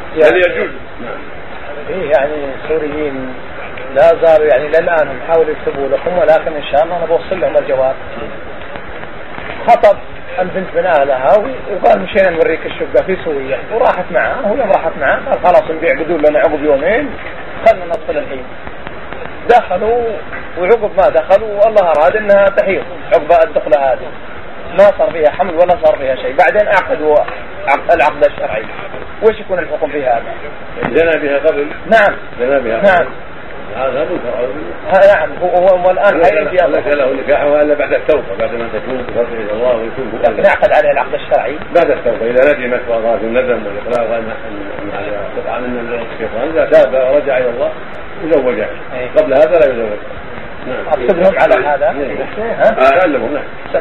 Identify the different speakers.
Speaker 1: هل يجوز؟
Speaker 2: يعني إيه يعني سوريين لا زالوا يعني للآن هم حاولوا يكتبوا لكم ولكن إن شاء الله أنا بوصل لهم الجواب خطب البنت من أهلها وقال مشينا نوريك الشقة في سوريا وراحت معاه ويوم راحت معاه قال خلاص نبيع قدور لنا عقب يومين خلنا نصل الحين دخلوا وعقب ما دخلوا والله أراد أنها تحيض عقب الدخلة هذه ما صار فيها حمل ولا صار فيها شيء بعدين عقدوا عقد- العقد الشرعي وش يكون الحكم في هذا
Speaker 1: زنى بها قبل
Speaker 2: نعم
Speaker 1: زنى بها
Speaker 2: نعم
Speaker 1: هذا منكر
Speaker 2: ها نعم هو هو والآن هاي
Speaker 1: ليس
Speaker 2: الجيال
Speaker 1: له نكاحها الا بعد التوبه بعد ما تتوب وتصل الى الله ويتوب
Speaker 2: نعقد عليه العقد الشرعي
Speaker 1: بعد التوبه اذا ندمت واراد الندم والاقرار وان أن على قطعه من الشيطان اذا تاب ورجع الى الله يزوجها
Speaker 2: إيه.
Speaker 1: قبل هذا لا يزوجها نعم
Speaker 2: أكتبهم على هذا
Speaker 1: نعم.
Speaker 2: ها
Speaker 1: اعلمهم نعم